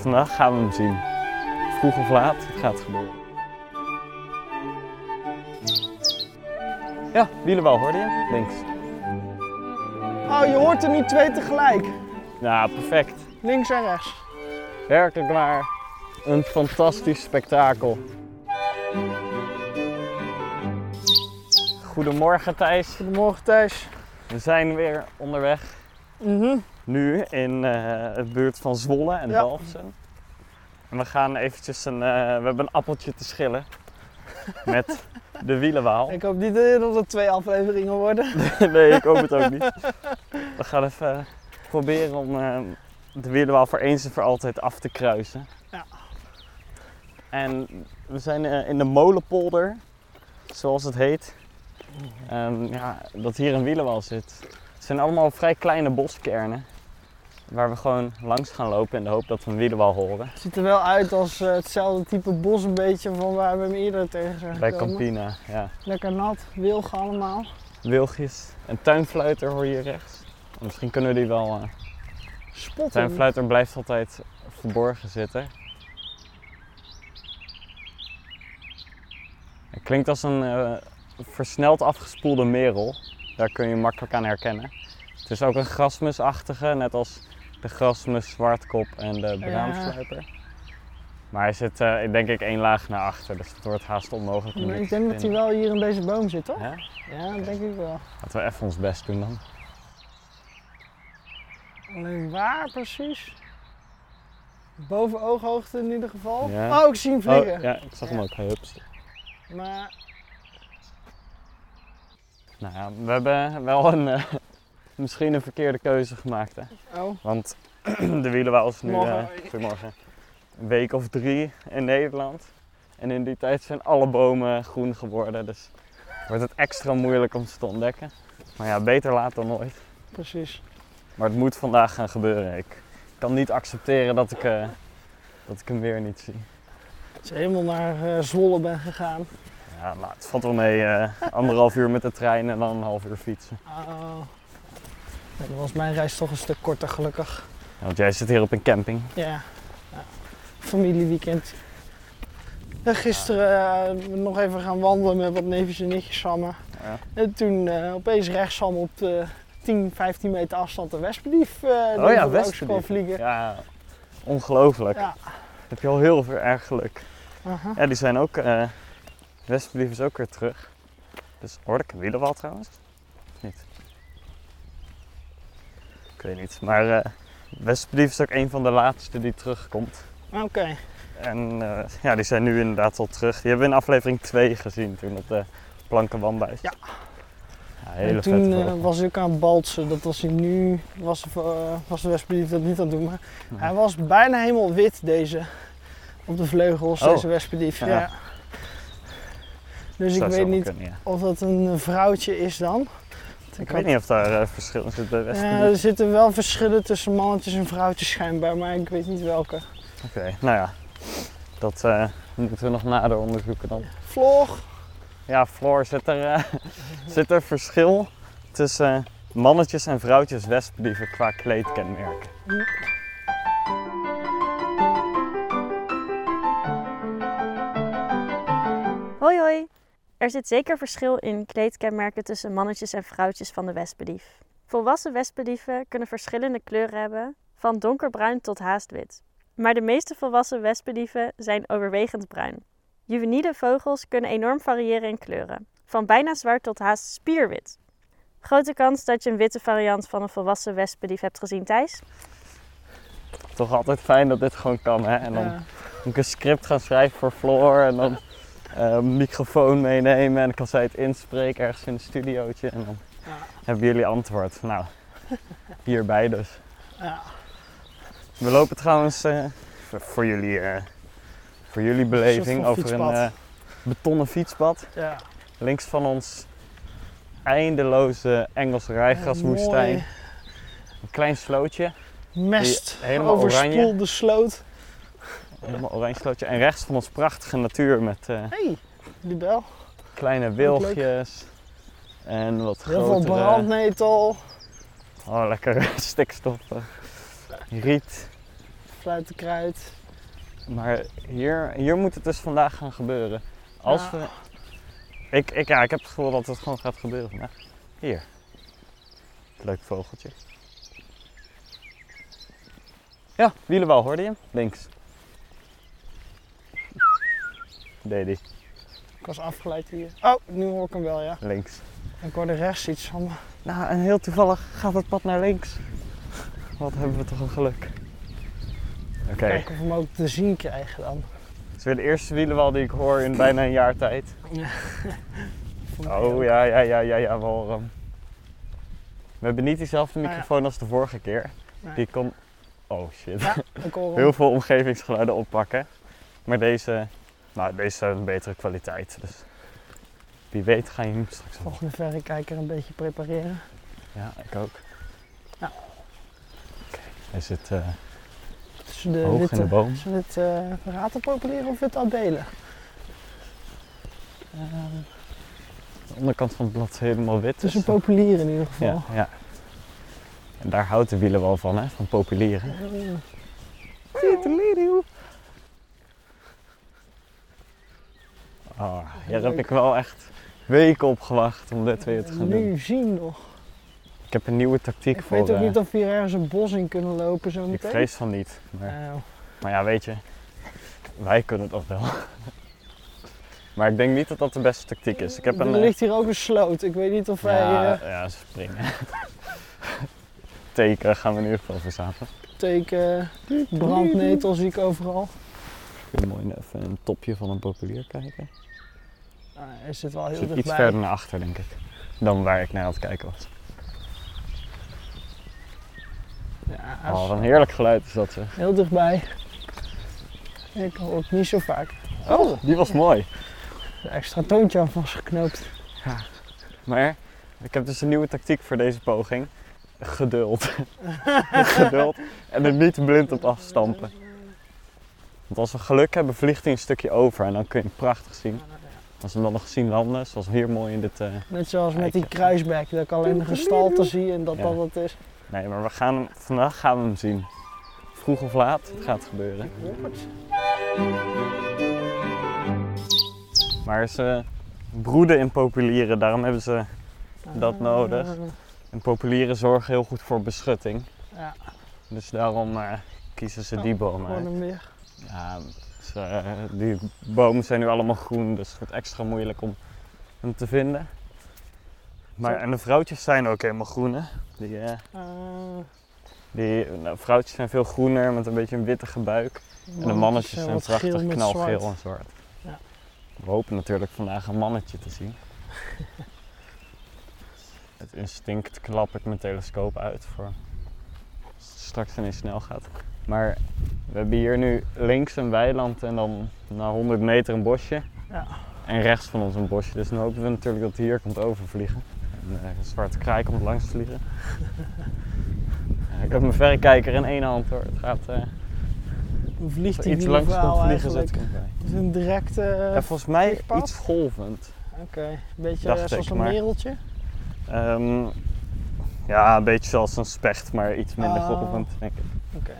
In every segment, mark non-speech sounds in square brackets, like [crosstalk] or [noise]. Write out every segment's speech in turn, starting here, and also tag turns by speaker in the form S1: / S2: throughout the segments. S1: Vandaag gaan we hem zien. Vroeg of laat, het gaat gebeuren. Ja, wielenbal hoorde je? Links.
S2: Oh, je hoort er nu twee tegelijk.
S1: Nou, perfect.
S2: Links en rechts.
S1: Werkelijk waar. Een fantastisch spektakel. Goedemorgen Thijs.
S2: Goedemorgen Thijs.
S1: We zijn weer onderweg.
S2: Mhm.
S1: Nu in eh, het buurt van Zwolle en
S2: Ja.
S1: Dalfsen. En we gaan eventjes een... eh, we hebben een appeltje te schillen. Met de wielenwaal.
S2: Ik hoop niet eh, dat het twee afleveringen worden.
S1: [laughs] nee, ik hoop het ook niet. [laughs] We gaan even eh, proberen om eh, de wielerwaal voor eens en voor altijd af te kruisen.
S2: Ja.
S1: En we zijn eh, in de molenpolder, zoals het heet. Ehm, ja, dat hier een wielerwaal zit. Het zijn allemaal vrij kleine boskernen. Waar we gewoon langs gaan lopen in de hoop dat we een wielerwaal horen.
S2: Het ziet er wel uit als eh, hetzelfde type bos een beetje van waar we hem eerder tegen zijn
S1: Bij
S2: gekomen.
S1: Campina, ja.
S2: Lekker nat, wilgen allemaal.
S1: Wilgjes. Een tuinfluiter hoor je hier rechts. Misschien kunnen we die wel eh,
S2: Spotten.
S1: Zijn fluiter blijft altijd verborgen zitten. Het klinkt als een eh, versneld afgespoelde merel. Daar kun je hem makkelijk aan herkennen. Het is ook een grasmusachtige, net als de grasmus zwartkop en de braamfluiter. Maar hij zit eh, denk ik één laag naar achter, dus het wordt haast onmogelijk. om
S2: Maar
S1: dit
S2: ik
S1: te
S2: denk dat hij wel hier in deze boom zit, toch?
S1: vinden. Ja?
S2: Ja, dat denk ik wel.
S1: Laten we even ons best doen dan.
S2: Alleen waar precies? Boven ooghoogte in ieder geval.
S1: Ja.
S2: Oh, ik zie hem vliegen.
S1: ja, ik zag hem
S2: Ja.
S1: ook. Hups.
S2: Maar
S1: Nou ja, we hebben wel een, eh, [laughs] misschien een verkeerde keuze gemaakt hè. [clears throat]
S2: oh,
S1: Want de wielenwaal is nu eh,
S2: Morgen.
S1: goedemorgen, een week of drie in Nederland. En in die tijd zijn alle bomen groen geworden. Dus wordt het extra moeilijk om ze te ontdekken. Maar ja, beter laat dan nooit.
S2: precies.
S1: Maar het moet vandaag gaan gebeuren. Ik kan niet accepteren dat ik, eh, dat ik hem weer niet zie.
S2: Als je helemaal naar eh, Zwolle ben gegaan.
S1: Ja, maar het valt wel mee. eh, anderhalf uur met de trein en dan een half uur fietsen.
S2: Oh. Nee, dan was mijn reis toch een stuk korter gelukkig.
S1: Ja, want jij zit hier op een camping.
S2: Ja. ja. Familieweekend. En gisteren eh, nog even gaan wandelen met wat neefjes en nichtjes van me.
S1: Ja.
S2: En toen eh, opeens rechtsom op de 10, 15 meter afstand de wespendief. eh, die
S1: Oh ja,
S2: over de oogst
S1: wespendief.
S2: kwam vliegen.
S1: Ja, ongelooflijk.
S2: Ja.
S1: Heb je al heel veel erg geluk.
S2: Aha.
S1: Ja, die zijn ook. eh Westblief is ook weer terug. Dus hoorde ik een wielerwal trouwens? Of niet? Ik weet niet. Maar eh Westblief is ook een van de laatste die terugkomt.
S2: Oké.
S1: En eh, ja, die zijn nu inderdaad al terug. Die hebben we in aflevering 2 gezien toen op de planken wandbijt.
S2: Ja.
S1: Ja,
S2: en
S1: hele
S2: toen
S1: vette
S2: eh,
S1: vogel.
S2: was hij ook aan het baltsen. Dat was hij nu, was, eh, was de wespendief dat niet aan het doen. Maar
S1: Nee.
S2: hij was bijna helemaal wit deze. Op de vleugels,
S1: Oh.
S2: deze wespendief.
S1: Ja.
S2: Ja. Dus
S1: Zou
S2: ik weet
S1: zomaar
S2: niet
S1: kunnen, ja.
S2: of dat een eh, vrouwtje is dan. Want
S1: Ik
S2: had-
S1: weet niet of daar eh, verschil in zit bij
S2: Ja,
S1: Westblief.
S2: er zitten wel verschillen tussen mannetjes en vrouwtjes schijnbaar, maar ik weet niet welke.
S1: Oké, nou ja. Dat eh, moeten we nog nader onderzoeken dan.
S2: Vlog.
S1: Ja, Floor, zit er, eh, [laughs] zit er verschil tussen eh, mannetjes en vrouwtjes wespdieven qua kleedkenmerken?
S3: Hoi hoi! Er zit zeker verschil in kleedkenmerken tussen mannetjes en vrouwtjes van de wespendief. Volwassen wespendieven kunnen verschillende kleuren hebben, van donkerbruin tot haast wit. Maar de meeste volwassen wespendieven zijn overwegend bruin. Juveniele vogels kunnen enorm variëren in kleuren, van bijna zwart tot haast spierwit. Grote kans dat je een witte variant van een volwassen wespendief hebt gezien, Thijs?
S1: Toch altijd fijn dat dit gewoon kan, hè? En dan
S2: Ja.
S1: moet ik een script gaan schrijven voor Floor en dan eh, een microfoon meenemen en dan kan zij het inspreken ergens in een studiootje en dan
S2: Ja.
S1: hebben jullie antwoord. Nou, hierbij dus.
S2: Ja.
S1: We lopen trouwens eh, voor, voor jullie, eh, voor jullie beleving
S2: van
S1: over een
S2: fietspad.
S1: eh, betonnen fietspad.
S2: Ja.
S1: Links van ons eindeloze Engelse rijgraswoestijn.
S2: Oh, Mooi.
S1: Een klein slootje,
S2: Mest.
S1: Die helemaal
S2: overspoelde sloot.
S1: helemaal oranje slootje. En rechts van ons prachtige natuur met eh,
S2: Hé, hey, die bel.
S1: kleine wilgjes. En wat
S2: Heel veel
S1: grotere,
S2: brandnetel.
S1: [laughs] oh lekker stikstoffen, eh. riet,
S2: fluitenkruid.
S1: Maar hier, hier moet het dus vandaag gaan gebeuren. Als
S2: Ja.
S1: we... Ik, ik, ja, ik heb het gevoel dat het gewoon gaat gebeuren vandaag. Hier. Leuk vogeltje. Ja, wielenbal, hoorde je hem? Links. Deed hij,
S2: Ik was afgeleid hier. Oh, nu hoor ik hem wel, ja.
S1: links.
S2: Ik hoorde rechts iets van.
S1: Nou, en heel toevallig gaat het pad naar links. Wat hebben we toch een geluk. Oké,
S2: Kijken of we hem ook te zien krijgen dan.
S1: het is weer de eerste wielenbal die ik hoor in bijna een jaar tijd.
S2: Vond ik heel-
S1: Oh ja, ja, ja, ja, ja, walram. We hebben niet diezelfde
S2: Ah, ja.
S1: microfoon als de vorige keer.
S2: Nee.
S1: Die kon. Oh shit.
S2: Ja, ik hoor hem.
S1: Heel veel omgevingsgeluiden oppakken. Maar deze. Nou, deze heeft een betere kwaliteit. Dus wie weet ga je hem straks wel.
S2: Volgende verrekijker een beetje prepareren.
S1: Ja, ik ook.
S2: Ja.
S1: Oké, Hij zit eh,
S2: Tussen de
S1: hoog
S2: witte,
S1: in de boom.
S2: Zijn het eh ratenpopulieren of witte abelen?
S1: De onderkant van het blad is helemaal wit.
S2: Eh, Tussen
S1: dus-
S2: populieren in ieder geval.
S1: ja, ja. En daar houdt de wielen wel van, hè? Van populieren.
S2: Eh,
S1: Ah, hier heb ik wel echt weken op gewacht om dit weer te gaan doen.
S2: Eh, nu zien nog.
S1: Ik heb een nieuwe tactiek
S2: Ik
S1: voor.
S2: weet ook
S1: eh,
S2: niet of we hier ergens een bos in kunnen lopen zo
S1: ik
S2: meteen.
S1: vrees van niet. Maar,
S2: Nou,
S1: maar ja, weet je, wij kunnen dat wel. [laughs] maar ik denk niet dat dat de beste tactiek is. Ik heb een.
S2: er
S1: eh,
S2: ligt hier ook een sloot. Ik weet niet of wij
S1: ja,
S2: eh,
S1: ja, springen. [laughs] Teken gaan we in ieder geval verzamelen.
S2: teken brandnetel zie ik overal.
S1: Ik wil mooi even een topje van een populier kijken.
S2: Oh, Nou, hij zit wel heel
S1: Zit iets
S2: dichtbij.
S1: verder naar achter, denk ik. Dan waar ik naar aan het kijken was.
S2: Ja, hij is
S1: Oh, wat een heerlijk geluid is dat zeg.
S2: heel dichtbij. Ik hoor het niet zo vaak.
S1: Oh, die was mooi.
S2: Een extra toontje aan vastgeknoopt.
S1: Maar ik heb dus een nieuwe tactiek voor deze poging. Geduld. Geduld. En er niet blind op afstampen. Want als we geluk hebben, vliegt hij een stukje over en dan kun je hem prachtig zien. Als we hem dan nog zien landen, zoals hier mooi in dit... eh,
S2: Net zoals met
S1: Kijk,
S2: die
S1: ja.
S2: kruisbek, dat ik alleen de gestalte zie en dat
S1: Ja.
S2: dat het is.
S1: Nee, maar we gaan hem, vandaag gaan we hem zien. Vroeg of laat, het gaat gebeuren. Maar ze broeden in populieren, daarom hebben ze... Dat nodig. En populieren zorgen heel goed voor beschutting.
S2: Ja,
S1: Dus daarom eh, kiezen ze die
S2: Oh,
S1: bomen.
S2: gewoon hem weer.
S1: Ja, ze- eh, die bomen zijn nu allemaal groen, dus het wordt extra moeilijk om hem te vinden. Maar, en de vrouwtjes zijn ook helemaal groen, hè? Die, eh,
S2: Eh,
S1: die nou, vrouwtjes zijn veel groener met een beetje een witte buik. En de mannetjes zijn
S2: wat
S1: prachtig
S2: geel met
S1: knalgeel
S2: zwart.
S1: en zwart.
S2: Ja.
S1: We hopen natuurlijk vandaag een mannetje te
S2: [laughs]
S1: zien. het instinct klap ik mijn telescoop uit voor als het straks ineens snel gaat. Maar we hebben hier nu links een weiland en dan na 100 meter een bosje.
S2: Ja.
S1: En rechts van ons een bosje. Dus dan hopen we natuurlijk dat hij hier komt overvliegen. En eh, een zwarte kraai komt langs
S2: [laughs]
S1: vliegen. Ja, ik heb mijn verrekijker in één hand hoor. Het gaat eh,
S2: Hoe vliegt hij
S1: iets
S2: die
S1: langs komt
S2: verhaal
S1: vliegen
S2: eigenlijk?
S1: zit ik erbij.
S2: Het is een directe...
S1: Ja, volgens mij
S2: vliegpad?
S1: iets golvend.
S2: Oké, een beetje
S1: dacht
S2: eh, zoals
S1: ik,
S2: een
S1: maar-
S2: mereltje.
S1: Ehm, ja, een beetje zoals een specht, maar iets minder
S2: Oh.
S1: golvend denk ik.
S2: Oké.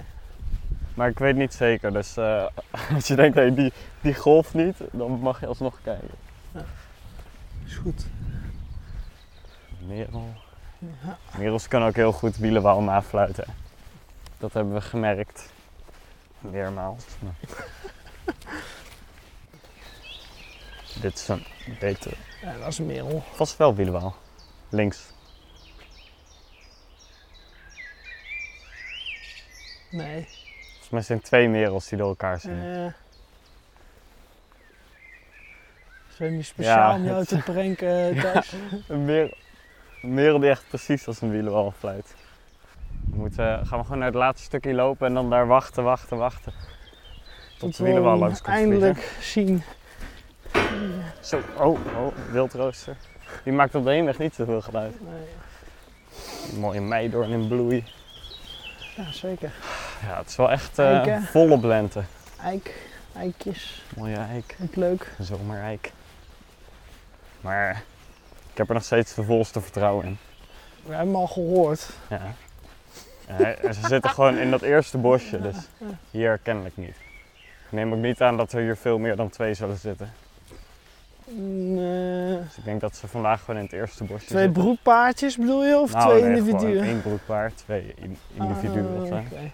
S1: Maar ik weet niet zeker, dus eh, [laughs] als je denkt, hey, die, die golft niet, dan mag je alsnog kijken.
S2: Is goed.
S1: Merel.
S2: Ja.
S1: Merels kunnen ook heel goed wielenwaal nafluiten. Dat hebben we gemerkt.
S2: [laughs]
S1: Meermaals. maar- Dit is een beter.
S2: Ja, dat is een merel.
S1: Vast wel wielenwaal. Links.
S2: Nee.
S1: Volgens mij zijn twee merels die door elkaar zijn.
S2: Eh, zijn die speciaal
S1: Ja,
S2: om jou
S1: het-
S2: te
S1: [laughs]
S2: pranken eh, thuis?
S1: Een merel, een merel die echt precies als een wielenwal fluit. We moeten, eh, gaan we gewoon naar het laatste stukje lopen en dan daar wachten, wachten, wachten. Tot de
S2: we
S1: wielenwal
S2: hem
S1: langs komt
S2: eindelijk zien.
S1: vliegen. Zo, oh, oh, wildrooster. Die maakt op de heenweg niet zoveel geluid.
S2: Nee.
S1: Mooie meidoorn in bloei.
S2: Ja, zeker.
S1: Ja, het is wel echt eh,
S2: Eiken.
S1: volle blente.
S2: Eik, eikjes.
S1: Mooie eik,
S2: Wat leuk.
S1: een zomereik. Maar ik heb er nog steeds de volste vertrouwen in.
S2: We hebben hem al gehoord.
S1: Ja. Eh, en ze zitten gewoon in dat eerste bosje, dus hier kennelijk niet. Ik neem ook niet aan dat er hier veel meer dan twee zullen zitten.
S2: Nee.
S1: Dus ik denk dat ze vandaag gewoon in het eerste bosje
S2: Mm, eh, Twee
S1: zitten.
S2: broedpaardjes bedoel je? Of
S1: Nou,
S2: twee
S1: nee, gewoon
S2: individuen?
S1: één broedpaar, twee in- individuen of zo.
S2: Ah, oké.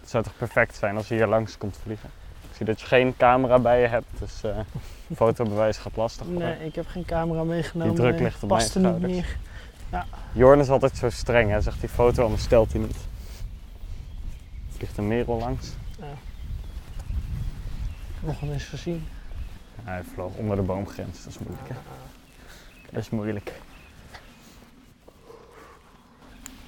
S1: Het zou toch perfect zijn als je hier langs komt vliegen. Ik zie dat je geen camera bij je hebt, dus
S2: [laughs]
S1: eh, fotobewijs gaat lastig. worden.
S2: Nee, ik heb geen camera meegenomen.
S1: Die druk
S2: nee.
S1: ligt op
S2: Past
S1: mijn
S2: er niet meer.
S1: Jorn is altijd zo streng, hij zegt die foto, maar stelt hij niet. Er Vliegt een merel langs.
S2: Nog wel eens gezien.
S1: Ja, hij vloog onder de boomgrens, dat is moeilijk. Hè? Dat is moeilijk.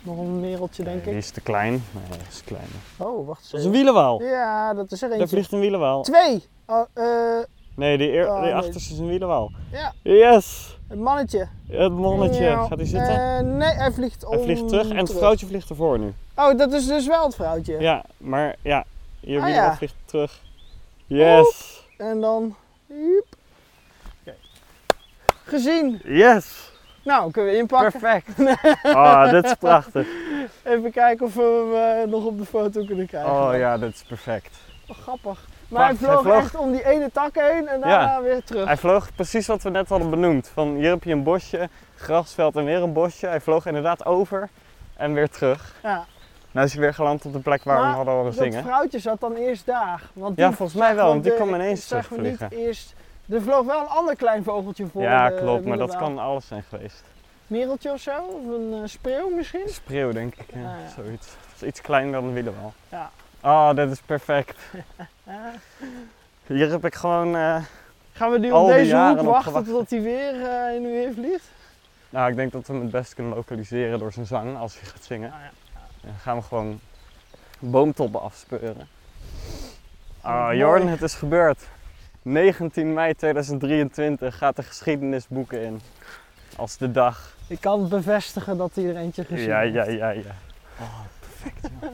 S2: Nog een mereltje, denk
S1: Eh, die
S2: ik.
S1: is te klein. Nee, dat is klein.
S2: Oh, wacht
S1: Dat is een
S2: eens.
S1: wielenwaal.
S2: Ja, dat is er
S1: Daar
S2: eentje.
S1: vliegt een wielenwaal.
S2: Twee! Oh, eh,
S1: Nee, die, eer,
S2: Oh,
S1: die
S2: nee.
S1: achterste is een wielenwaal.
S2: Ja.
S1: Yes!
S2: het mannetje.
S1: Het mannetje.
S2: Ja.
S1: Gaat hij zitten?
S2: Eh, nee, hij vliegt om.
S1: hij vliegt terug en het vrouwtje vliegt ervoor nu.
S2: Oh, dat is dus wel het vrouwtje.
S1: Ja, maar ja, je
S2: Ah,
S1: wielenwaal
S2: ja.
S1: vliegt terug. Yes!
S2: En dan. Joep. Gezien.
S1: Yes!
S2: Nou, kunnen we inpakken.
S1: Perfect! Oh, dit is prachtig.
S2: [laughs] Even kijken of we hem eh, nog op de foto kunnen krijgen.
S1: Oh ja, dit is perfect.
S2: Wel grappig. Maar
S1: Wacht,
S2: hij, vloog
S1: hij vloog-
S2: echt om die ene tak heen en daarna weer terug.
S1: Hij vloog precies wat we net hadden benoemd. Van hier heb je een bosje, grasveld en weer een bosje. Hij vloog inderdaad over en weer terug.
S2: Ja.
S1: Nou is hij weer geland op de plek waar we
S2: Maar
S1: hem hadden horen
S2: Dat
S1: zingen.
S2: vrouwtje zat dan eerst daar. Want die,
S1: Ja, volgens mij wel, want die
S2: de-
S1: kwam ineens
S2: zag me
S1: terugvliegen.
S2: niet eerst. Er vloog wel een ander klein vogeltje voor.
S1: Ja,
S2: de
S1: klopt, maar dat
S2: wielenbaan.
S1: kan alles zijn
S2: [laughs]
S1: geweest.
S2: Mereltje of zo? Of een eh, spreeuw misschien?
S1: Een spreeuw, denk ik. Ja,
S2: Ah, ja.
S1: Zoiets. Het is iets kleiner dan een wielenwal.
S2: Ja.
S1: Oh, dit is
S2: [laughs]
S1: perfect.
S2: Eh,
S1: Hier heb ik gewoon. eh,
S2: gaan we nu
S1: Al
S2: op
S1: die
S2: deze
S1: jaren
S2: hoek
S1: op
S2: wachten
S1: gewacht.
S2: totdat hij weer eh, in de weer vliegt?
S1: nou, ik denk dat we hem het best kunnen lokaliseren door zijn zang als hij gaat zingen.
S2: Ah, ja.
S1: Dan gaan we gewoon boomtoppen afspeuren. Ah,
S2: Mooi.
S1: Jorn, het is gebeurd. 19 mei 2023 gaat de geschiedenisboeken in. Als de dag.
S2: Ik kan bevestigen dat hij er eentje gezien
S1: Ja,
S2: heeft.
S1: ja, ja, ja. Oh, perfect, [laughs] joh.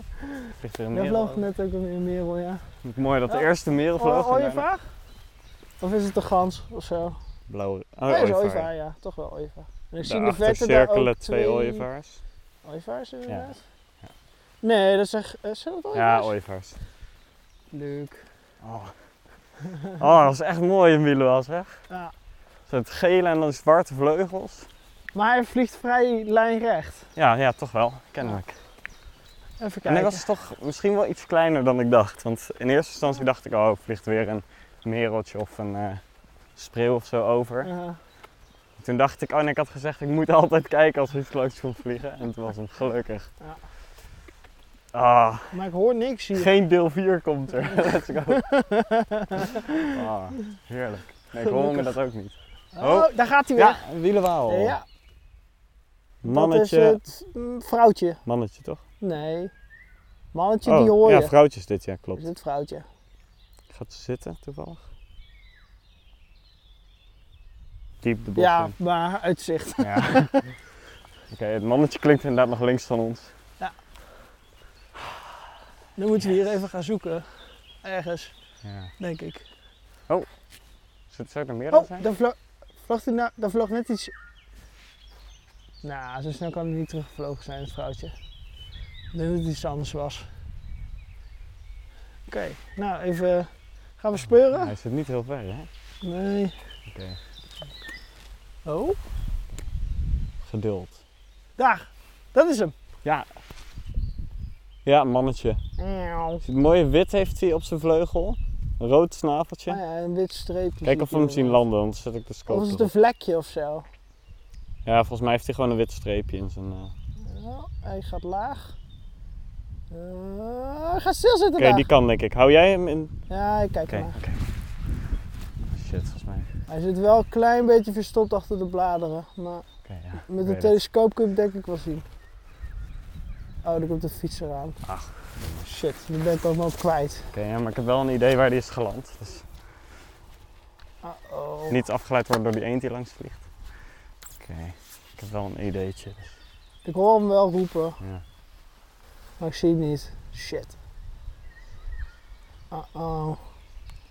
S1: Vliegt er een
S2: Daar
S1: merel
S2: vloog
S1: over.
S2: net ook een merel, ja.
S1: Mooi dat de
S2: Ja. Oh,
S1: eerste merel vloog.
S2: Hoor
S1: en
S2: Oh, je
S1: daarna-
S2: vraag? Of is het een gans of zo? Oh,
S1: Blauwe. Oh,
S2: nee, dat is
S1: ooievaar.
S2: ooievaar, ja. Toch wel ooievaar. En ik zie in de
S1: Daarachter
S2: verte daar
S1: cirkelen
S2: ook
S1: twee ooievaars.
S2: Ooievaars inderdaad? Nee, dat is echt... eh, Zijn dat ooievaars?
S1: Ja, ooievaars.
S2: Leuk.
S1: Oh. oh, dat is echt mooi in Wielenwal, zeg.
S2: Ja.
S1: Zo het gele en dan zwarte vleugels.
S2: Maar hij vliegt vrij lijnrecht.
S1: Ja, ja, toch wel. Kennelijk.
S2: Even
S1: En hij
S2: kijken.
S1: was toch misschien wel iets kleiner dan ik dacht. Want in eerste instantie dacht ik, oh, er vliegt weer een mereltje of een eh, spreeuw of zo over.
S2: Ja.
S1: Toen dacht ik, oh, en ik had gezegd, ik moet [laughs] altijd kijken als er iets leuks komt vliegen. En toen was hem gelukkig.
S2: Ja.
S1: Ah,
S2: maar ik hoor niks hier.
S1: geen deel 4 komt
S2: [laughs]
S1: er. Let's go. Ah, heerlijk. Nee, ik hoor me dat ook niet.
S2: Oh, daar gaat hij weer.
S1: Ja, een wielenwaal.
S2: Ja,
S1: Mannetje.
S2: Dat is het mm, vrouwtje.
S1: Mannetje toch?
S2: Nee. Mannetje,
S1: Oh,
S2: die hoor je.
S1: ja, vrouwtjes dit, ja,
S2: Is
S1: klopt.
S2: het vrouwtje?
S1: Gaat ze zitten toevallig? Diep de bos
S2: Ja,
S1: in.
S2: maar uitzicht.
S1: Ja. [laughs] Oké, het mannetje klinkt inderdaad nog links van ons.
S2: Dan moeten we hier even gaan zoeken. Ergens,
S1: Ja.
S2: denk ik.
S1: Zou het er meer dan
S2: Oh,
S1: zijn?
S2: daar vlo vloog, hij nou, daar vloog net iets... Nou, zo snel kan hij niet teruggevlogen zijn, het vrouwtje. Ik denk dat het iets anders was. Oké, nou even... Gaan we
S1: Ja,
S2: speuren?
S1: hij zit niet heel ver, hè?
S2: Nee.
S1: Oké.
S2: Oh,
S1: Geduld.
S2: daar. Dat is hem.
S1: Ja, mannetje.
S2: Miauw.
S1: Ziet mooie wit heeft hij op zijn vleugel. Een rood snaveltje.
S2: Ah ja, een wit streepje.
S1: Kijk of we hem zien
S2: landen.
S1: landen, anders zet ik de scope
S2: Of Oh, is het
S1: erop.
S2: een vlekje of zo?
S1: Ja, volgens mij heeft hij gewoon een wit streepje in zijn... eh,
S2: Ja, hij gaat laag. Eh, hij gaat stilzitten
S1: Oké,
S2: daar.
S1: die kan denk ik. Hou jij hem in?
S2: Ja, ik kijk
S1: Oké,
S2: maar.
S1: oké. Shit, volgens mij.
S2: Hij zit wel een klein beetje verstopt achter de bladeren. Maar
S1: Oké, ja.
S2: met
S1: Ik
S2: een
S1: weet het.
S2: telescoop kun je hem denk ik wel zien. Oh, daar komt een fietser aan.
S1: Ach.
S2: Shit, nu ben ik hem ook kwijt.
S1: Oké, ja, maar ik heb wel een idee waar die is geland. Dus
S2: Uh-oh.
S1: niet afgeleid worden door die eend die langs vliegt. Oké, ik heb wel een ideetje. dus,
S2: Ik hoor hem wel roepen,
S1: ja.
S2: maar ik zie hem niet. Shit. Uh-oh.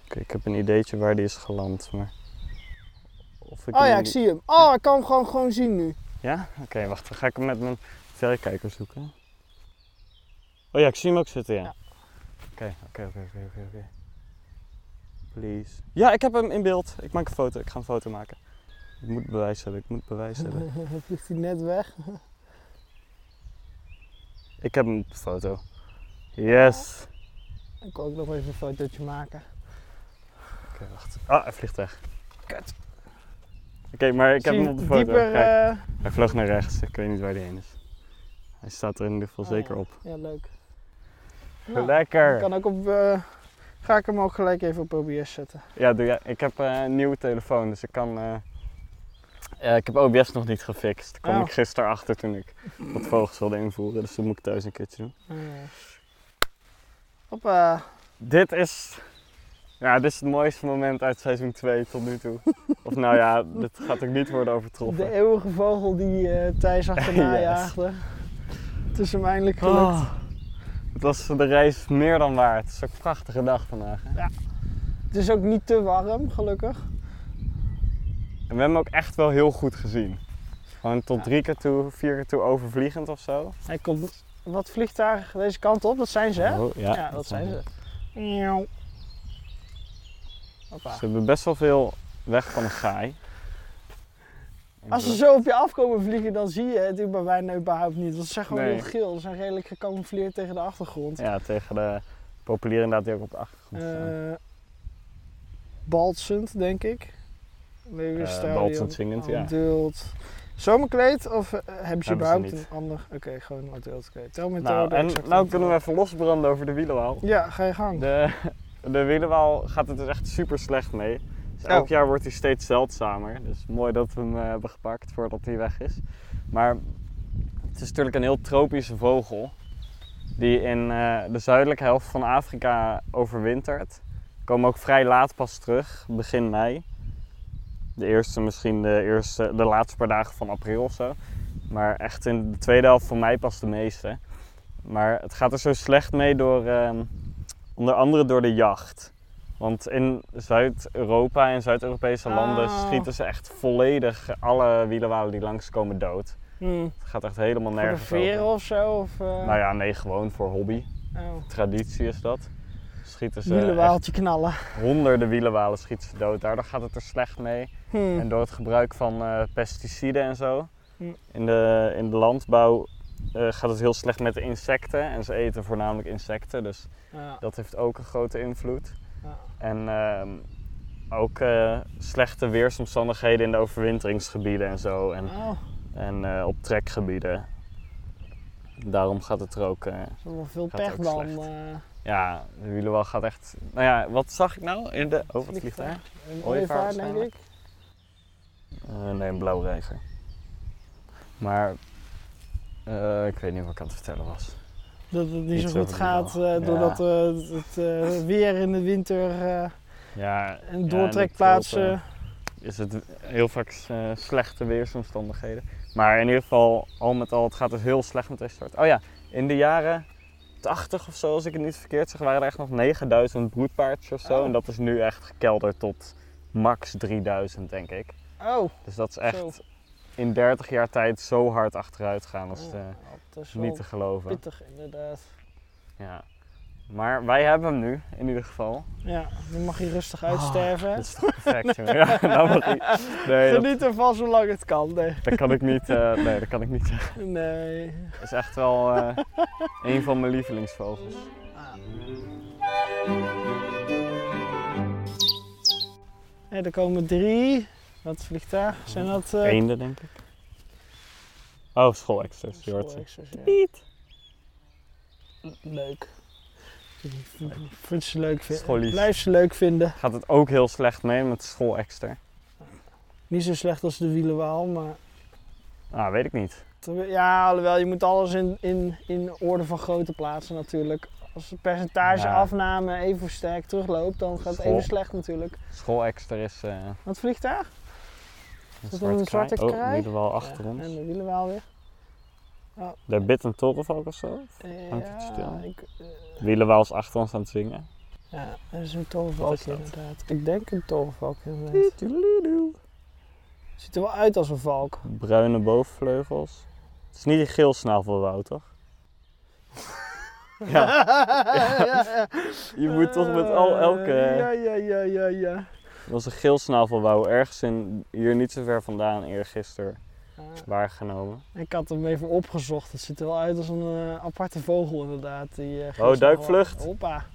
S1: Oké, ik heb een ideetje waar die is geland, maar... Of
S2: Oh
S1: hem
S2: ja,
S1: niet-
S2: Oh, ik zie hem. Oh, ik kan hem gewoon, gewoon zien nu.
S1: Ja? Oké, wacht. Dan ga ik hem met mijn verrekijker zoeken. Oh ja, ik zie hem ook zitten, ja.
S2: Ja.
S1: Oké, oké, oké, oké, oké, oké. Please. Ja, ik heb hem in beeld. Ik maak een foto. Ik ga een foto maken. Ik moet bewijs hebben, ik moet bewijs hebben.
S2: Vliegt hij net weg?
S1: Ik heb hem op de foto. Yes.
S2: Ik kan ook nog even een fotootje maken.
S1: Oké, wacht. Ah, hij vliegt weg. Kut. Oké, maar ik heb hem op de foto.
S2: Dieper,
S1: Kijk,
S2: eh,
S1: hij vloog naar rechts. Ik weet niet waar hij heen is. Hij staat er in ieder geval
S2: Oh,
S1: zeker op.
S2: ja, leuk. Nou,
S1: Lekker.
S2: ik Kan ook op, eh, ga ik hem ook gelijk even op OBS zetten.
S1: Ja, doe jij. ik heb eh, een nieuwe telefoon, dus ik kan. eh, eh, ik heb OBS nog niet gefixt. Daar kwam
S2: Oh.
S1: ik gisteren achter toen ik wat vogels wilde invoeren, dus dat moet ik thuis een keertje doen.
S2: Eh, Hoppa.
S1: Dit is. Ja, dit is het mooiste moment uit seizoen 2 tot nu toe. of nou ja, dit gaat ook niet worden overtroffen.
S2: De eeuwige vogel die eh,
S1: [laughs]
S2: Thijs achterna
S1: eh. Yes.
S2: jaagde. Het is hem eindelijk gelukt.
S1: Oh, het was de reis meer dan waard. Het is ook een prachtige dag vandaag. Hè?
S2: Het is ook niet te warm, gelukkig.
S1: En we hebben hem ook echt wel heel goed gezien. Gewoon tot
S2: Ja.
S1: drie keer toe, vier keer toe overvliegend of zo.
S2: Hij komt... Wat vliegt daar deze kant op? Dat zijn ze, hè?
S1: Oh, ja,
S2: ja, dat zijn ze. Miauw. Hoppa.
S1: Ze hebben best wel veel weg van een gaai.
S2: Als ze zo op je afkomen vliegen, dan zie je het bij bijna überhaupt niet. Want ze zijn gewoon
S1: Nee.
S2: heel geel. Ze zijn redelijk gecamoufleerd tegen de achtergrond.
S1: Ja, tegen de populieren inderdaad die ook op de achtergrond staan.
S2: Eh Baltsend, denk ik. Leuvenstadion.
S1: Eh, baltsend zingend, ja.
S2: Adult. Zomerkleed of eh, hebben ze
S1: Hebben ze
S2: überhaupt
S1: niet.
S2: een ander? Oké, gewoon een adultkleed. Tel met
S1: nou,
S2: de
S1: en
S2: exacte
S1: nou kunnen we
S2: antwoord.
S1: even losbranden over de wielenwaal.
S2: Ja, ga je gang.
S1: De, de wielenwaal gaat het dus echt super slecht mee. Dus elk
S2: Oh.
S1: jaar wordt hij steeds zeldzamer. Dus mooi dat we hem eh, hebben gepakt voordat hij weg is. Maar het is natuurlijk een heel tropische vogel. Die in eh, de zuidelijke helft van Afrika overwintert. Komen ook vrij laat pas terug, begin mei. De eerste, misschien de, eerste, de laatste paar dagen van april of zo. Maar echt in de tweede helft van mei pas de meeste. Maar het gaat er zo slecht mee door, ehm, onder andere door de jacht. Want in Zuid-Europa en Zuid-Europese landen
S2: Oh.
S1: schieten ze echt volledig alle wielenwalen die langskomen dood.
S2: Hmm.
S1: Het gaat echt helemaal
S2: Voor de
S1: nergens
S2: veren
S1: over.
S2: of zo? Of, eh,
S1: Nou ja, nee, gewoon voor hobby.
S2: oh.
S1: Traditie is dat. Schieten ze echt
S2: Wielenwaaltje knallen.
S1: honderden wielenwalen schieten ze dood. Daardoor gaat het er slecht mee.
S2: Hmm.
S1: En door het gebruik van eh, pesticiden en zo
S2: Hm.
S1: in de, in de landbouw eh, gaat het heel slecht met de insecten. En ze eten voornamelijk insecten, dus
S2: Ja.
S1: dat heeft ook een grote invloed.
S2: Ja.
S1: En ehm, ook eh, slechte weersomstandigheden in de overwinteringsgebieden en zo. En,
S2: Oh,
S1: en eh, op trekgebieden. Daarom gaat het er ook. eh,
S2: dat is wel veel
S1: Gaat
S2: pech
S1: ook
S2: dan.
S1: slecht. Oh,
S2: eh,
S1: ja, de wielenwal gaat echt. Nou ja, wat zag ik nou in de. Oh, wat vliegt daar?
S2: Een
S1: Ooievaar
S2: ooievaar, denk ik.
S1: waarschijnlijk. Eh, nee, een blauw reiger. Maar eh, ik weet niet wat ik aan het vertellen was.
S2: Dat het niet
S1: Iets over
S2: zo goed
S1: die
S2: gaat
S1: bal.
S2: eh,
S1: Ja.
S2: doordat eh, het eh, weer in de winter eh,
S1: Ja,
S2: een doortrekplaats.
S1: Ja, in de
S2: eh,
S1: is het heel vaak eh, slechte weersomstandigheden. Maar in ieder geval, al met al, het gaat dus heel slecht met deze soort. Oh ja, in de jaren 80 of zo, als ik het niet verkeerd zeg, waren er echt nog 9000 broedpaardjes of zo.
S2: Oh.
S1: En dat is nu echt gekelderd tot max 3000, denk ik.
S2: oh,
S1: Dus dat is
S2: zo.
S1: echt in 30 jaar tijd zo hard achteruit gaan, dat is
S2: Ja,
S1: eh,
S2: Oh, nou, dat is wel
S1: niet te geloven.
S2: pittig inderdaad.
S1: Ja. Maar wij hebben hem nu, in ieder geval.
S2: Ja, nu mag hij rustig uitsterven.
S1: Ah, Dat is toch perfect, jongen.
S2: [laughs]
S1: Ja, [laughs] nou mag ik. Nee, dat,
S2: Geniet ervan zolang het kan. Nee.
S1: dat kan ik niet, eh, nee, dat kan ik niet zeggen.
S2: nee.
S1: Dat is echt wel eh, een van mijn lievelingsvogels.
S2: Ah. Hey, er komen drie. Wat vliegt daar? Zijn dat... eh,
S1: Eenden, denk ik. Oh, schoolexters. Je hoort ze.
S2: schoolexers, ja. Leuk. Vind ze leuk vinden.
S1: Scholies.
S2: Blijf ze leuk vinden.
S1: Gaat het ook heel slecht mee met schoolexter?
S2: Niet zo slecht als de wielenwaal, maar
S1: Nou, weet ik niet.
S2: Terwijl- Ja, alhoewel, je moet alles in, in, in orde van grootte plaatsen natuurlijk. Als het percentage
S1: Ja.
S2: afname even sterk terugloopt, dan gaat het
S1: School.
S2: even slecht natuurlijk.
S1: Schoolexter is eh,
S2: Wat vliegt daar?
S1: een,
S2: dat
S1: zwarte
S2: een zwarte
S1: kraai.
S2: kraai?
S1: Oh, in ieder geval achter
S2: Ja,
S1: ons.
S2: En de wielenwaal weer.
S1: Daar bidt een torenvalk of zo.
S2: Eh,
S1: Hangt het stil?
S2: ik, eh,
S1: Wielenwaal is achter ons aan het zingen.
S2: ja, dat is een
S1: Wat is
S2: torenvalkje
S1: dat?
S2: inderdaad. Ik denk een torenvalkje inderdaad. Ziet er wel uit als een valk.
S1: Bruine bovenvleugels. Het is niet een geel snavelwoud, toch? ja,
S2: [laughs] ja.
S1: je moet toch met al elke...
S2: Eh, Ja, ja, ja, ja, ja.
S1: Er was een geel snavelwouw ergens in, hier niet zo ver vandaan eergisteren
S2: Ah,
S1: waargenomen.
S2: ik had hem even opgezocht. Het ziet er wel uit als een eh, aparte vogel inderdaad. Die, eh,
S1: Oh,
S2: geest-
S1: duikvlucht.
S2: Hoppa.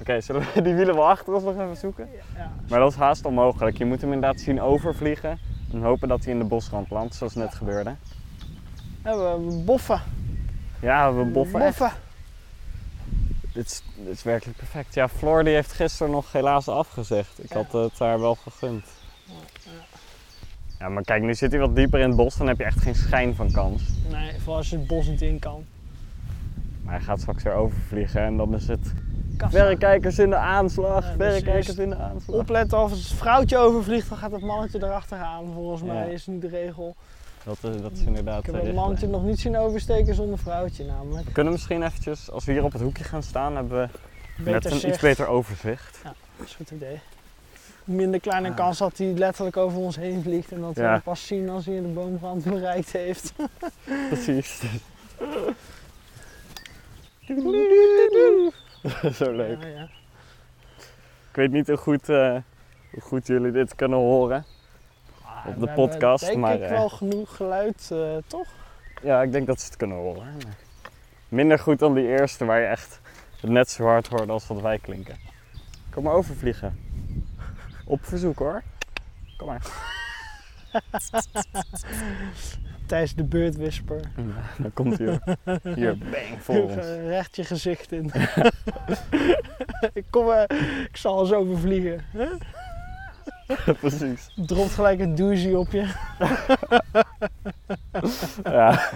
S1: Oké, zullen we die wielen wel achter ons nog even zoeken?
S2: Ja.
S1: Maar dat is haast onmogelijk. Je moet hem inderdaad zien overvliegen en hopen dat hij in de bosrand landt, zoals net gebeurde.
S2: Hebben we boffen.
S1: Ja, we boffen echt.
S2: Boffen.
S1: Dit is, dit is werkelijk perfect. Ja, Floor die heeft gisteren nog helaas afgezegd. Ik
S2: Ja.
S1: had het haar wel gegund. Ja, maar kijk, nu zit hij wat dieper in het bos, dan heb je echt geen schijn van kans.
S2: Nee, vooral als je het bos niet in kan.
S1: Maar hij gaat straks weer overvliegen en dan is het...
S2: Kassa.
S1: Verrekijkers in de aanslag,
S2: Ja, dus
S1: verrekijkers
S2: eerst
S1: in de aanslag.
S2: Opletten of als het vrouwtje overvliegt, dan gaat het mannetje erachteraan. Volgens
S1: Ja.
S2: mij is nu de regel.
S1: Dat is, dat is inderdaad eh,
S2: Ik heb
S1: de
S2: het
S1: richtlijn.
S2: mannetje nog niet zien oversteken zonder vrouwtje namelijk.
S1: We kunnen misschien eventjes, als we hier op het hoekje gaan staan, hebben we net
S2: Beter
S1: een iets
S2: zicht.
S1: beter
S2: [laughs]
S1: overzicht.
S2: Dat is een goed idee. Minder kleine kans dat hij letterlijk over ons heen vliegt en dat we
S1: Ah. Ja.
S2: hem pas zien als hij de boomrand bereikt heeft.
S1: Precies. [laughs] Zo leuk.
S2: Ja, ja.
S1: Ik weet niet hoe goed, eh, hoe goed jullie dit kunnen horen.
S2: Ah,
S1: Op de
S2: we hebben
S1: podcast,
S2: denk
S1: maar,
S2: Ik
S1: eh,
S2: wel genoeg geluid, eh, toch?
S1: Ja, ik denk dat ze het kunnen horen. maar Minder goed dan die eerste, waar je echt het net zo hard hoorde als wat wij klinken. Kom maar overvliegen. Op verzoek hoor. Kom maar.
S2: Tijdens de beurtwisper.
S1: Dan komt
S2: [laughs]
S1: hij hoor. Hier, bang, voor ons.
S2: Recht je
S1: [laughs]
S2: gezicht in. [laughs] ik, kom, eh, ik zal eens overvliegen.
S1: [laughs] Precies.
S2: Dropt gelijk een douche op je.
S1: Ja.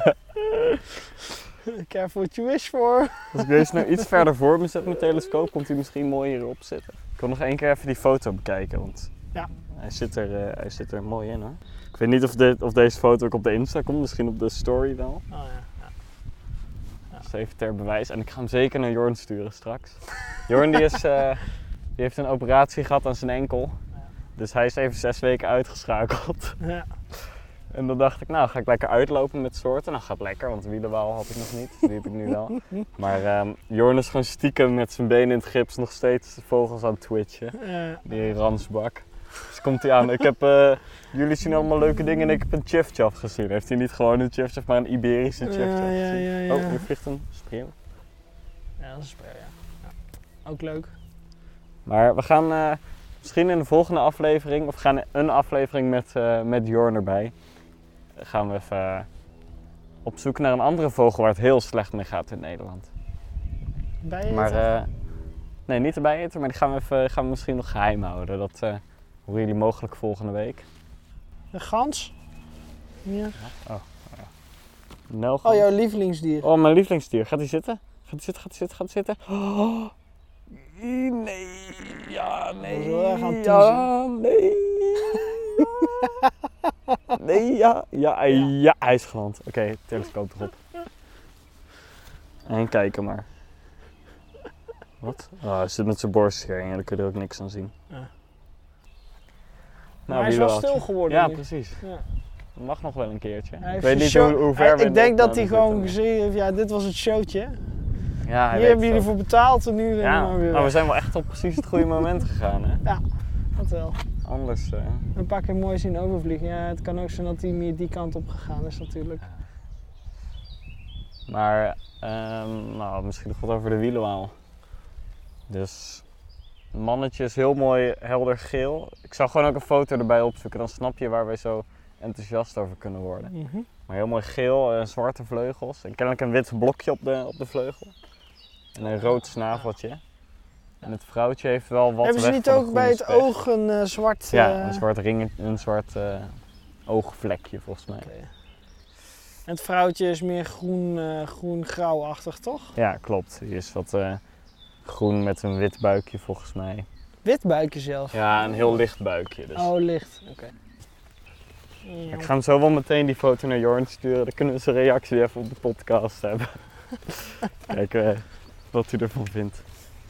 S2: Careful what you wish for.
S1: Als ik deze nou iets verder voor me zet, mijn telescoop, komt hij misschien mooi hierop zitten. Ik wil nog één keer even die foto bekijken, want
S2: Ja.
S1: hij, zit er, eh, hij zit er mooi in hoor. Ik weet niet of, dit, of deze foto ook op de Insta komt, misschien op de story wel.
S2: Oh, ja.
S1: Dus even ter bewijs. En ik ga hem zeker naar Jorn sturen straks. [laughs] Jorn die is, eh, die heeft een operatie gehad aan zijn enkel.
S2: Ja.
S1: Dus hij is even zes weken uitgeschakeld.
S2: Ja.
S1: En dan dacht ik, nou ga ik lekker uitlopen met soorten. Nou gaat lekker, want wielenwaal had ik nog niet. Die heb ik nu
S2: [laughs]
S1: wel. Maar ehm, Jorn is gewoon stiekem met zijn benen in het gips nog steeds de vogels aan het twitchen.
S2: Eh,
S1: Die ransbak. Dus komt hij aan. Ik heb, eh, jullie zien allemaal leuke dingen en ik heb een chef gezien. Heeft hij niet gewoon een chef maar een Iberische chef
S2: Ja, ja,
S1: gezien?
S2: ja, ja.
S1: Oh, nu vliegt een spreeuw.
S2: ja, dat is ja. Ja. Ook leuk.
S1: Maar we gaan eh, misschien in de volgende aflevering, of we gaan een aflevering met, eh, met Jorn erbij. Gaan we even eh, op zoek naar een andere vogel waar het heel slecht mee gaat in Nederland.
S2: Bij
S1: Maar eh, nee, niet erbij eten, maar die gaan we, even, gaan we misschien nog geheim houden. Dat eh horen jullie mogelijk volgende week.
S2: Een gans? Ja.
S1: Nelgo.
S2: Oh, jouw lievelingsdier.
S1: Oh, mijn lievelingsdier. Gaat hij zitten? Gaat hij zitten? Gaat hij zitten? Gaat hij zitten? Oh. Ih, Nee. Ja,
S2: Dat is
S1: nee.
S2: wel erg aan het
S1: Ja, nee. Ja. Nee, ja. Ja, ja. hij is geland. Oké, telescoop erop. En kijken maar. Wat? Oh, hij zit met zijn borst hier en dan kun je er ook niks aan zien.
S2: Ja.
S1: Nou,
S2: Maar hij is
S1: wie
S2: wel
S1: wil het?
S2: stil geworden.
S1: Ja,
S2: nu.
S1: precies.
S2: Ja.
S1: Dat mag nog wel een keertje.
S2: Hij
S1: ik weet
S2: heeft zijn
S1: niet
S2: show-
S1: hoe, hoe ver
S2: Hij-
S1: we eh, in
S2: Ik
S1: de
S2: denk dat hij
S1: opname
S2: gewoon
S1: zitten.
S2: gezien heeft, ja, dit was het showtje.
S1: Ja, hij
S2: Hier
S1: weet
S2: hebben
S1: het
S2: jullie
S1: ook.
S2: voor betaald en nu
S1: Ja,
S2: rennen we maar weer
S1: nou, we
S2: weg.
S1: zijn wel echt op precies het goede moment [laughs] gegaan, hè?
S2: Dat wel.
S1: Anders, eh,
S2: Een paar keer mooi zien overvliegen. Ja, het kan ook zijn dat hij meer die kant op gegaan is natuurlijk.
S1: maar ehm, nou, misschien nog wat over de wielenwaal. Dus, mannetje is heel mooi helder geel. Ik zou gewoon ook een foto erbij opzoeken, dan snap je waar wij zo enthousiast over kunnen worden.
S2: Mhm.
S1: Maar heel mooi geel, eh, zwarte vleugels en kennelijk een wit blokje op de, op de vleugel. En een rood snaveltje. En het vrouwtje heeft wel wat
S2: Hebben ze
S1: weg
S2: niet
S1: van de
S2: ook
S1: groene
S2: bij het
S1: specht.
S2: oog een eh, zwart...
S1: Ja,
S2: eh,
S1: een zwart ring, een zwart eh, oogvlekje volgens mij.
S2: oké. En het vrouwtje is meer groen, eh, groen-grauwachtig, toch?
S1: Ja, klopt. Die is wat eh, groen met een wit buikje volgens mij.
S2: Wit buikje zelf.
S1: Ja, een heel licht buikje dus.
S2: Oh, licht. Oké. Mm,
S1: Ik ga hem zo wel meteen die foto naar Jorn sturen. Dan kunnen we zijn reactie even op de podcast
S2: [laughs]
S1: hebben. Kijken eh, wat hij ervan vindt.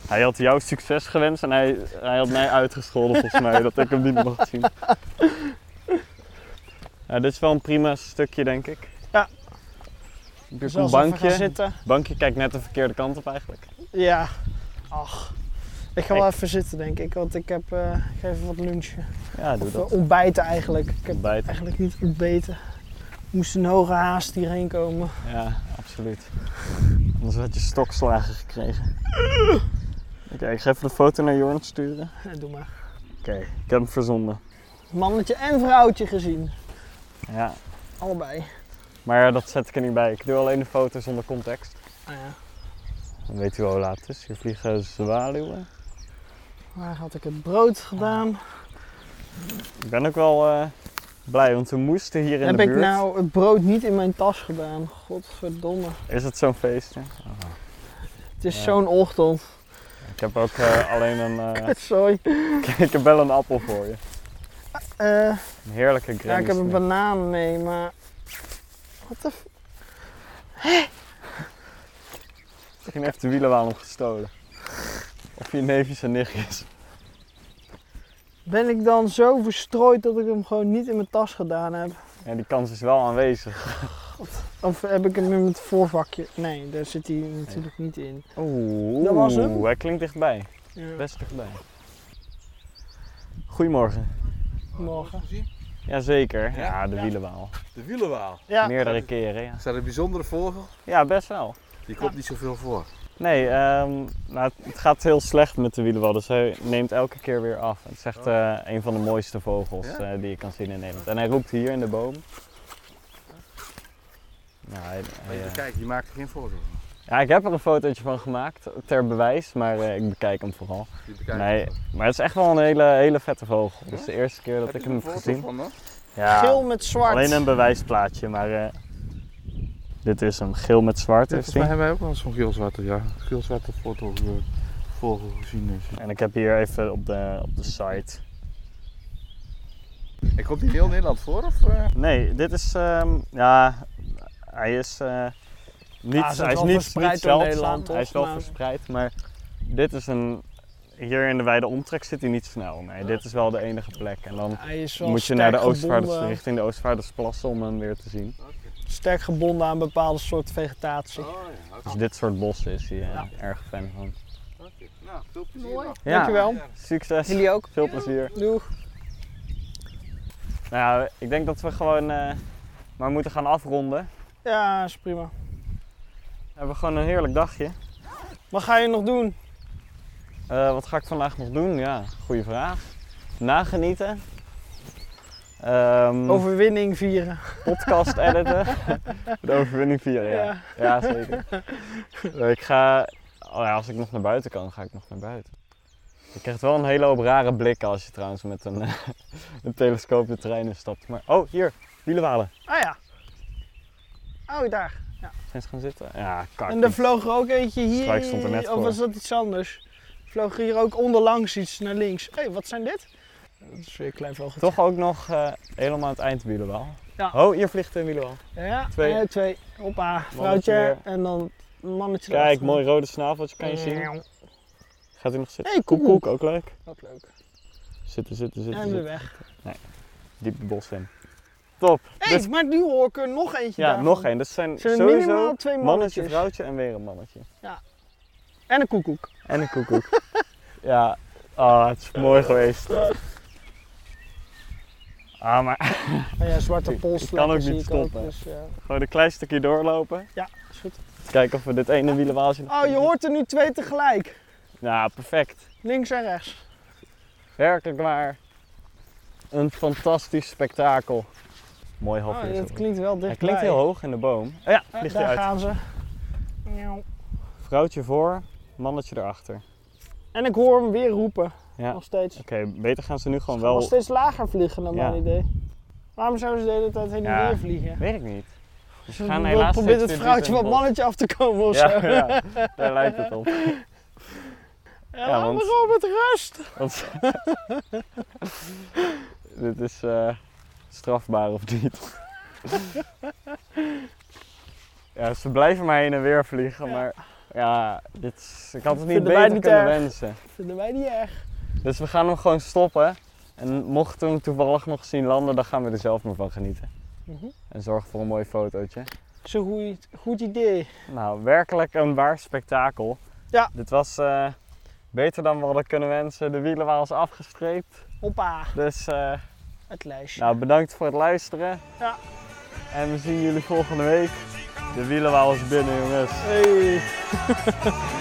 S1: Hij had jou succes gewenst en hij,
S2: [laughs]
S1: hij had mij uitgescholden volgens mij dat ik hem niet mag zien. Ja, dit is wel een prima stukje, denk ik. Heb
S2: Ja.
S1: je ook een
S2: Zelfs als we gaan
S1: bankje?
S2: zitten.
S1: Bankje kijkt net de verkeerde kant op eigenlijk.
S2: Ja. Ach. Ik ga
S1: Ik-
S2: wel even zitten, denk ik. Want ik heb eh, ik ga even wat lunchen.
S1: Ja, doe
S2: Of eh,
S1: dat.
S2: ontbijten eigenlijk. Ik heb
S1: Ontbijten.
S2: eigenlijk niet ontbeten. Ik moest een hoge haast hierheen komen.
S1: Ja, absoluut. Anders had je stokslagen gekregen. Oké, ik ga even de foto naar Jorn sturen.
S2: Ja, Eh, doe maar.
S1: Oké, ik heb hem verzonden.
S2: Mannetje en vrouwtje gezien.
S1: Ja,
S2: Allebei.
S1: maar eh, dat zet ik er niet bij. Ik doe alleen de foto zonder context.
S2: Ah ja.
S1: Dan weet u wel hoe laat het is. Hier vliegen zwaluwen.
S2: Waar had ik het brood gedaan?
S1: Ah, Ik ben ook wel eh, blij, want we moesten hier in
S2: Heb
S1: de
S2: ik
S1: buurt.
S2: nou het brood niet in mijn tas gedaan? Godverdomme.
S1: Is het zo'n feestje?
S2: Het is
S1: Ja.
S2: zo'n ochtend.
S1: Ik heb ook eh, alleen een... eh,
S2: [laughs]
S1: [laughs]
S2: Sorry.
S1: ik heb wel een appel voor je.
S2: Eh,
S1: Een heerlijke Granny
S2: ja, ik heb een
S1: Smith.
S2: banaan mee, maar... Wat de... f-
S1: Misschien heeft de wielenwaan hem gestolen. Of je neefjes en nichtjes.
S2: Ben ik dan zo verstrooid dat ik hem gewoon niet in mijn tas gedaan heb?
S1: Ja, die kans is wel aanwezig.
S2: Of heb ik hem in het voorvakje? Nee, daar zit hij natuurlijk niet in.
S1: Oeh,
S2: Dat was hem.
S1: hij klinkt dichtbij.
S2: Ja.
S1: Best dichtbij. Goedemorgen.
S2: Morgen.
S1: Jazeker.
S4: Ja?
S1: Ja, de
S2: Ja.
S1: wielenwaal.
S4: De wielenwaal.
S2: Ja.
S1: Meerdere keren, ja.
S4: Is dat een bijzondere vogel?
S1: Ja, best wel.
S4: Die komt niet zoveel voor.
S1: Nee, ehm, nou, het- het gaat heel slecht met de wielenwal, dus hij neemt elke keer weer af. Het is echt
S2: Oh.
S1: eh, een van de mooiste vogels
S4: Ja?
S1: eh, die je kan zien in Nederland. En hij roept hier in de boom. Nou, hij- hij,
S4: Maar je
S1: eh,
S4: kijkt, die maakt er geen foto van.
S1: ja, ik heb er een fotootje van gemaakt, ter bewijs, maar eh, ik bekijk hem vooral.
S4: Die bekijkt
S1: Nee,
S4: het.
S1: maar het is echt wel een hele, hele vette vogel. Dat is
S4: Ja?
S1: de eerste keer dat
S4: Heb
S1: ik
S4: je
S1: hem
S4: er
S1: heb
S4: een
S1: gezien.
S4: foto van dan?
S1: Ja,
S2: Geel met zwart.
S1: alleen een bewijsplaatje, maar eh, dit is hem. Geel met zwart is
S4: Volgens
S1: die.
S4: mij hebben wij ook wel eens zo'n geelzwarte, ja. Geelzwarte foto eh, vogel gezien. is.
S1: En ik heb hier even op de, op de site
S4: En komt die in heel Nederland voor? Of, eh?
S1: Nee, dit is. ehm, ja, hij is. eh, niet,
S2: Ah, hij is
S1: hij is
S2: wel
S1: niet,
S2: verspreid
S1: niet
S2: door
S1: zeldzaam.
S2: Nederland,
S1: Hij is
S2: toch?
S1: wel
S2: Maar-
S1: verspreid, maar dit is een. Hier in de wijde omtrek zit hij niet snel.
S2: Ah.
S1: Nee, dit is wel de enige plek. En dan
S2: Hij is wel
S1: moet je
S2: sterk
S1: naar de Oostvaarders,
S2: gebonden-
S1: richting de Oostvaardersplassen om hem weer te zien.
S2: Sterk gebonden aan bepaalde soort vegetatie.
S4: Oh ja, oké.
S1: Dus dit soort bossen is hij eh,
S2: Ja.
S1: erg fan van.
S4: Oké. Nou, veel plezier. nog.
S1: Ja,
S2: Dankjewel.
S1: Succes.
S2: Jullie ook.
S1: Veel plezier.
S2: Doeg.
S1: Nou, ik denk dat we gewoon eh, maar moeten gaan afronden.
S2: Ja, is prima.
S1: We hebben gewoon een heerlijk dagje.
S2: Wat ga je nog doen?
S1: Eh, wat ga ik vandaag nog doen? Ja, goede vraag. Nagenieten. Ehm,
S2: Overwinning vieren.
S1: Podcast editen. [laughs] De overwinning vieren, ja.
S2: Ja.
S1: ja. zeker. Eh, ik ga... Oh ja, als ik nog naar buiten kan, ga ik nog naar buiten. Je krijgt wel een hele hoop rare blikken als je trouwens met een, [laughs] eh, een telescoop de trein instapt. Maar, oh, hier, wielenwalen.
S2: Ah ja. Oh, daar.
S1: Zijn ze gaan zitten? Ja, kak.
S2: En er vloog er ook eentje hier.
S1: Struik stond er net
S2: of
S1: voor.
S2: was dat iets anders? Vloog hier ook onderlangs iets naar links. Hé, wat zijn dit? Dat is weer een klein vogeltje.
S1: Toch ook nog eh, helemaal aan het eind wielenwaal.
S2: Ja.
S1: Oh, hier vliegt een wielenwaal.
S2: Ja,
S1: Twee.
S2: twee. twee. Hoppa, vrouwtje.
S1: weer.
S2: En dan een mannetje.
S1: Kijk,
S2: erachter.
S1: mooi rode snaveltje kan je zien.
S2: Hé,
S1: Gaat hij nog zitten?
S2: hey, koekoek.
S1: Koekoek, ook leuk.
S2: Wat leuk.
S1: Zitten, zitten, zitten.
S2: En weer
S1: zitten.
S2: weg.
S1: Diep de bos in. Top.
S2: Hé,
S1: Dus-
S2: maar nu hoor ik er nog eentje
S1: ja,
S2: daarvan.
S1: nog één. Dat zijn
S2: Zijn er
S1: sowieso
S2: minimaal twee
S1: mannetje,
S2: mannetjes.
S1: vrouwtje en weer een mannetje.
S2: En een koekoek.
S1: En een koekoek. [laughs] ja, ah, het is mooi geweest. Ah, maar [laughs]
S2: Ah ja, zwarte
S1: Ik-
S2: polsvlekken
S1: ik kan ook
S2: zie
S1: niet
S2: ik
S1: stoppen.
S2: dus, ja.
S1: gewoon een klein stukje doorlopen.
S2: Is goed.
S1: Kijken of we dit ene wielenwaaltje nog
S2: Oh, je
S1: kunnen
S2: hoort er nu twee tegelijk.
S1: zien. Ja, perfect.
S2: Links en rechts.
S1: Werkelijk waar. Een fantastisch spektakel. Mooi
S2: Oh,
S1: hapje.
S2: dat klinkt wel dichtbij.
S1: Hij klinkt heel hoog in de boom. Oh ja,
S2: Ah,
S1: vliegt hij
S2: daar
S1: uit.
S2: gaan ze. Miauw.
S1: Vrouwtje voor, mannetje erachter.
S2: En ik hoor hem weer roepen.
S1: Ja.
S2: Nog steeds.
S1: Oké, beter gaan ze nu gewoon
S2: Nog
S1: wel.
S2: steeds lager vliegen dan
S1: Ja.
S2: mijn idee. Waarom zouden ze de hele tijd heen en
S1: Ja.
S2: weer vliegen?
S1: Weet ik niet.
S2: Ze
S1: gaan
S2: wel-
S1: helaas
S2: probeert
S1: steeds weer
S2: het vrouwtje
S1: dieper
S2: wat
S1: in
S2: mannetje af te komen of zo.
S1: Ja, ja, daar lijkt het op.
S2: Ja,
S1: ja,
S2: laat
S1: want-
S2: me gewoon met rust.
S1: Want- [laughs] Dit is eh, strafbaar of niet? [laughs] ja, ze blijven maar heen en weer vliegen,
S2: Ja.
S1: maar ja, dit is- ik had het niet
S2: Vinden wij
S1: beter
S2: niet
S1: kunnen
S2: erg.
S1: wensen.
S2: Vinden wij niet erg.
S1: Dus we gaan hem gewoon stoppen. En mochten we hem toevallig nog zien landen, dan gaan we er zelf maar van genieten.
S2: Mhm.
S1: en zorg voor een mooi fotootje.
S2: Zo goed, goed idee.
S1: Nou, werkelijk een waar spektakel.
S2: Ja.
S1: Dit was eh, beter dan we hadden kunnen wensen. De wielen waren ons afgestreept.
S2: Hoppa,
S1: Dus eh,
S2: het lijstje.
S1: nou, bedankt voor het luisteren.
S2: Ja.
S1: En we zien jullie volgende week. De wielen waren ons binnen, jongens.
S2: Hey.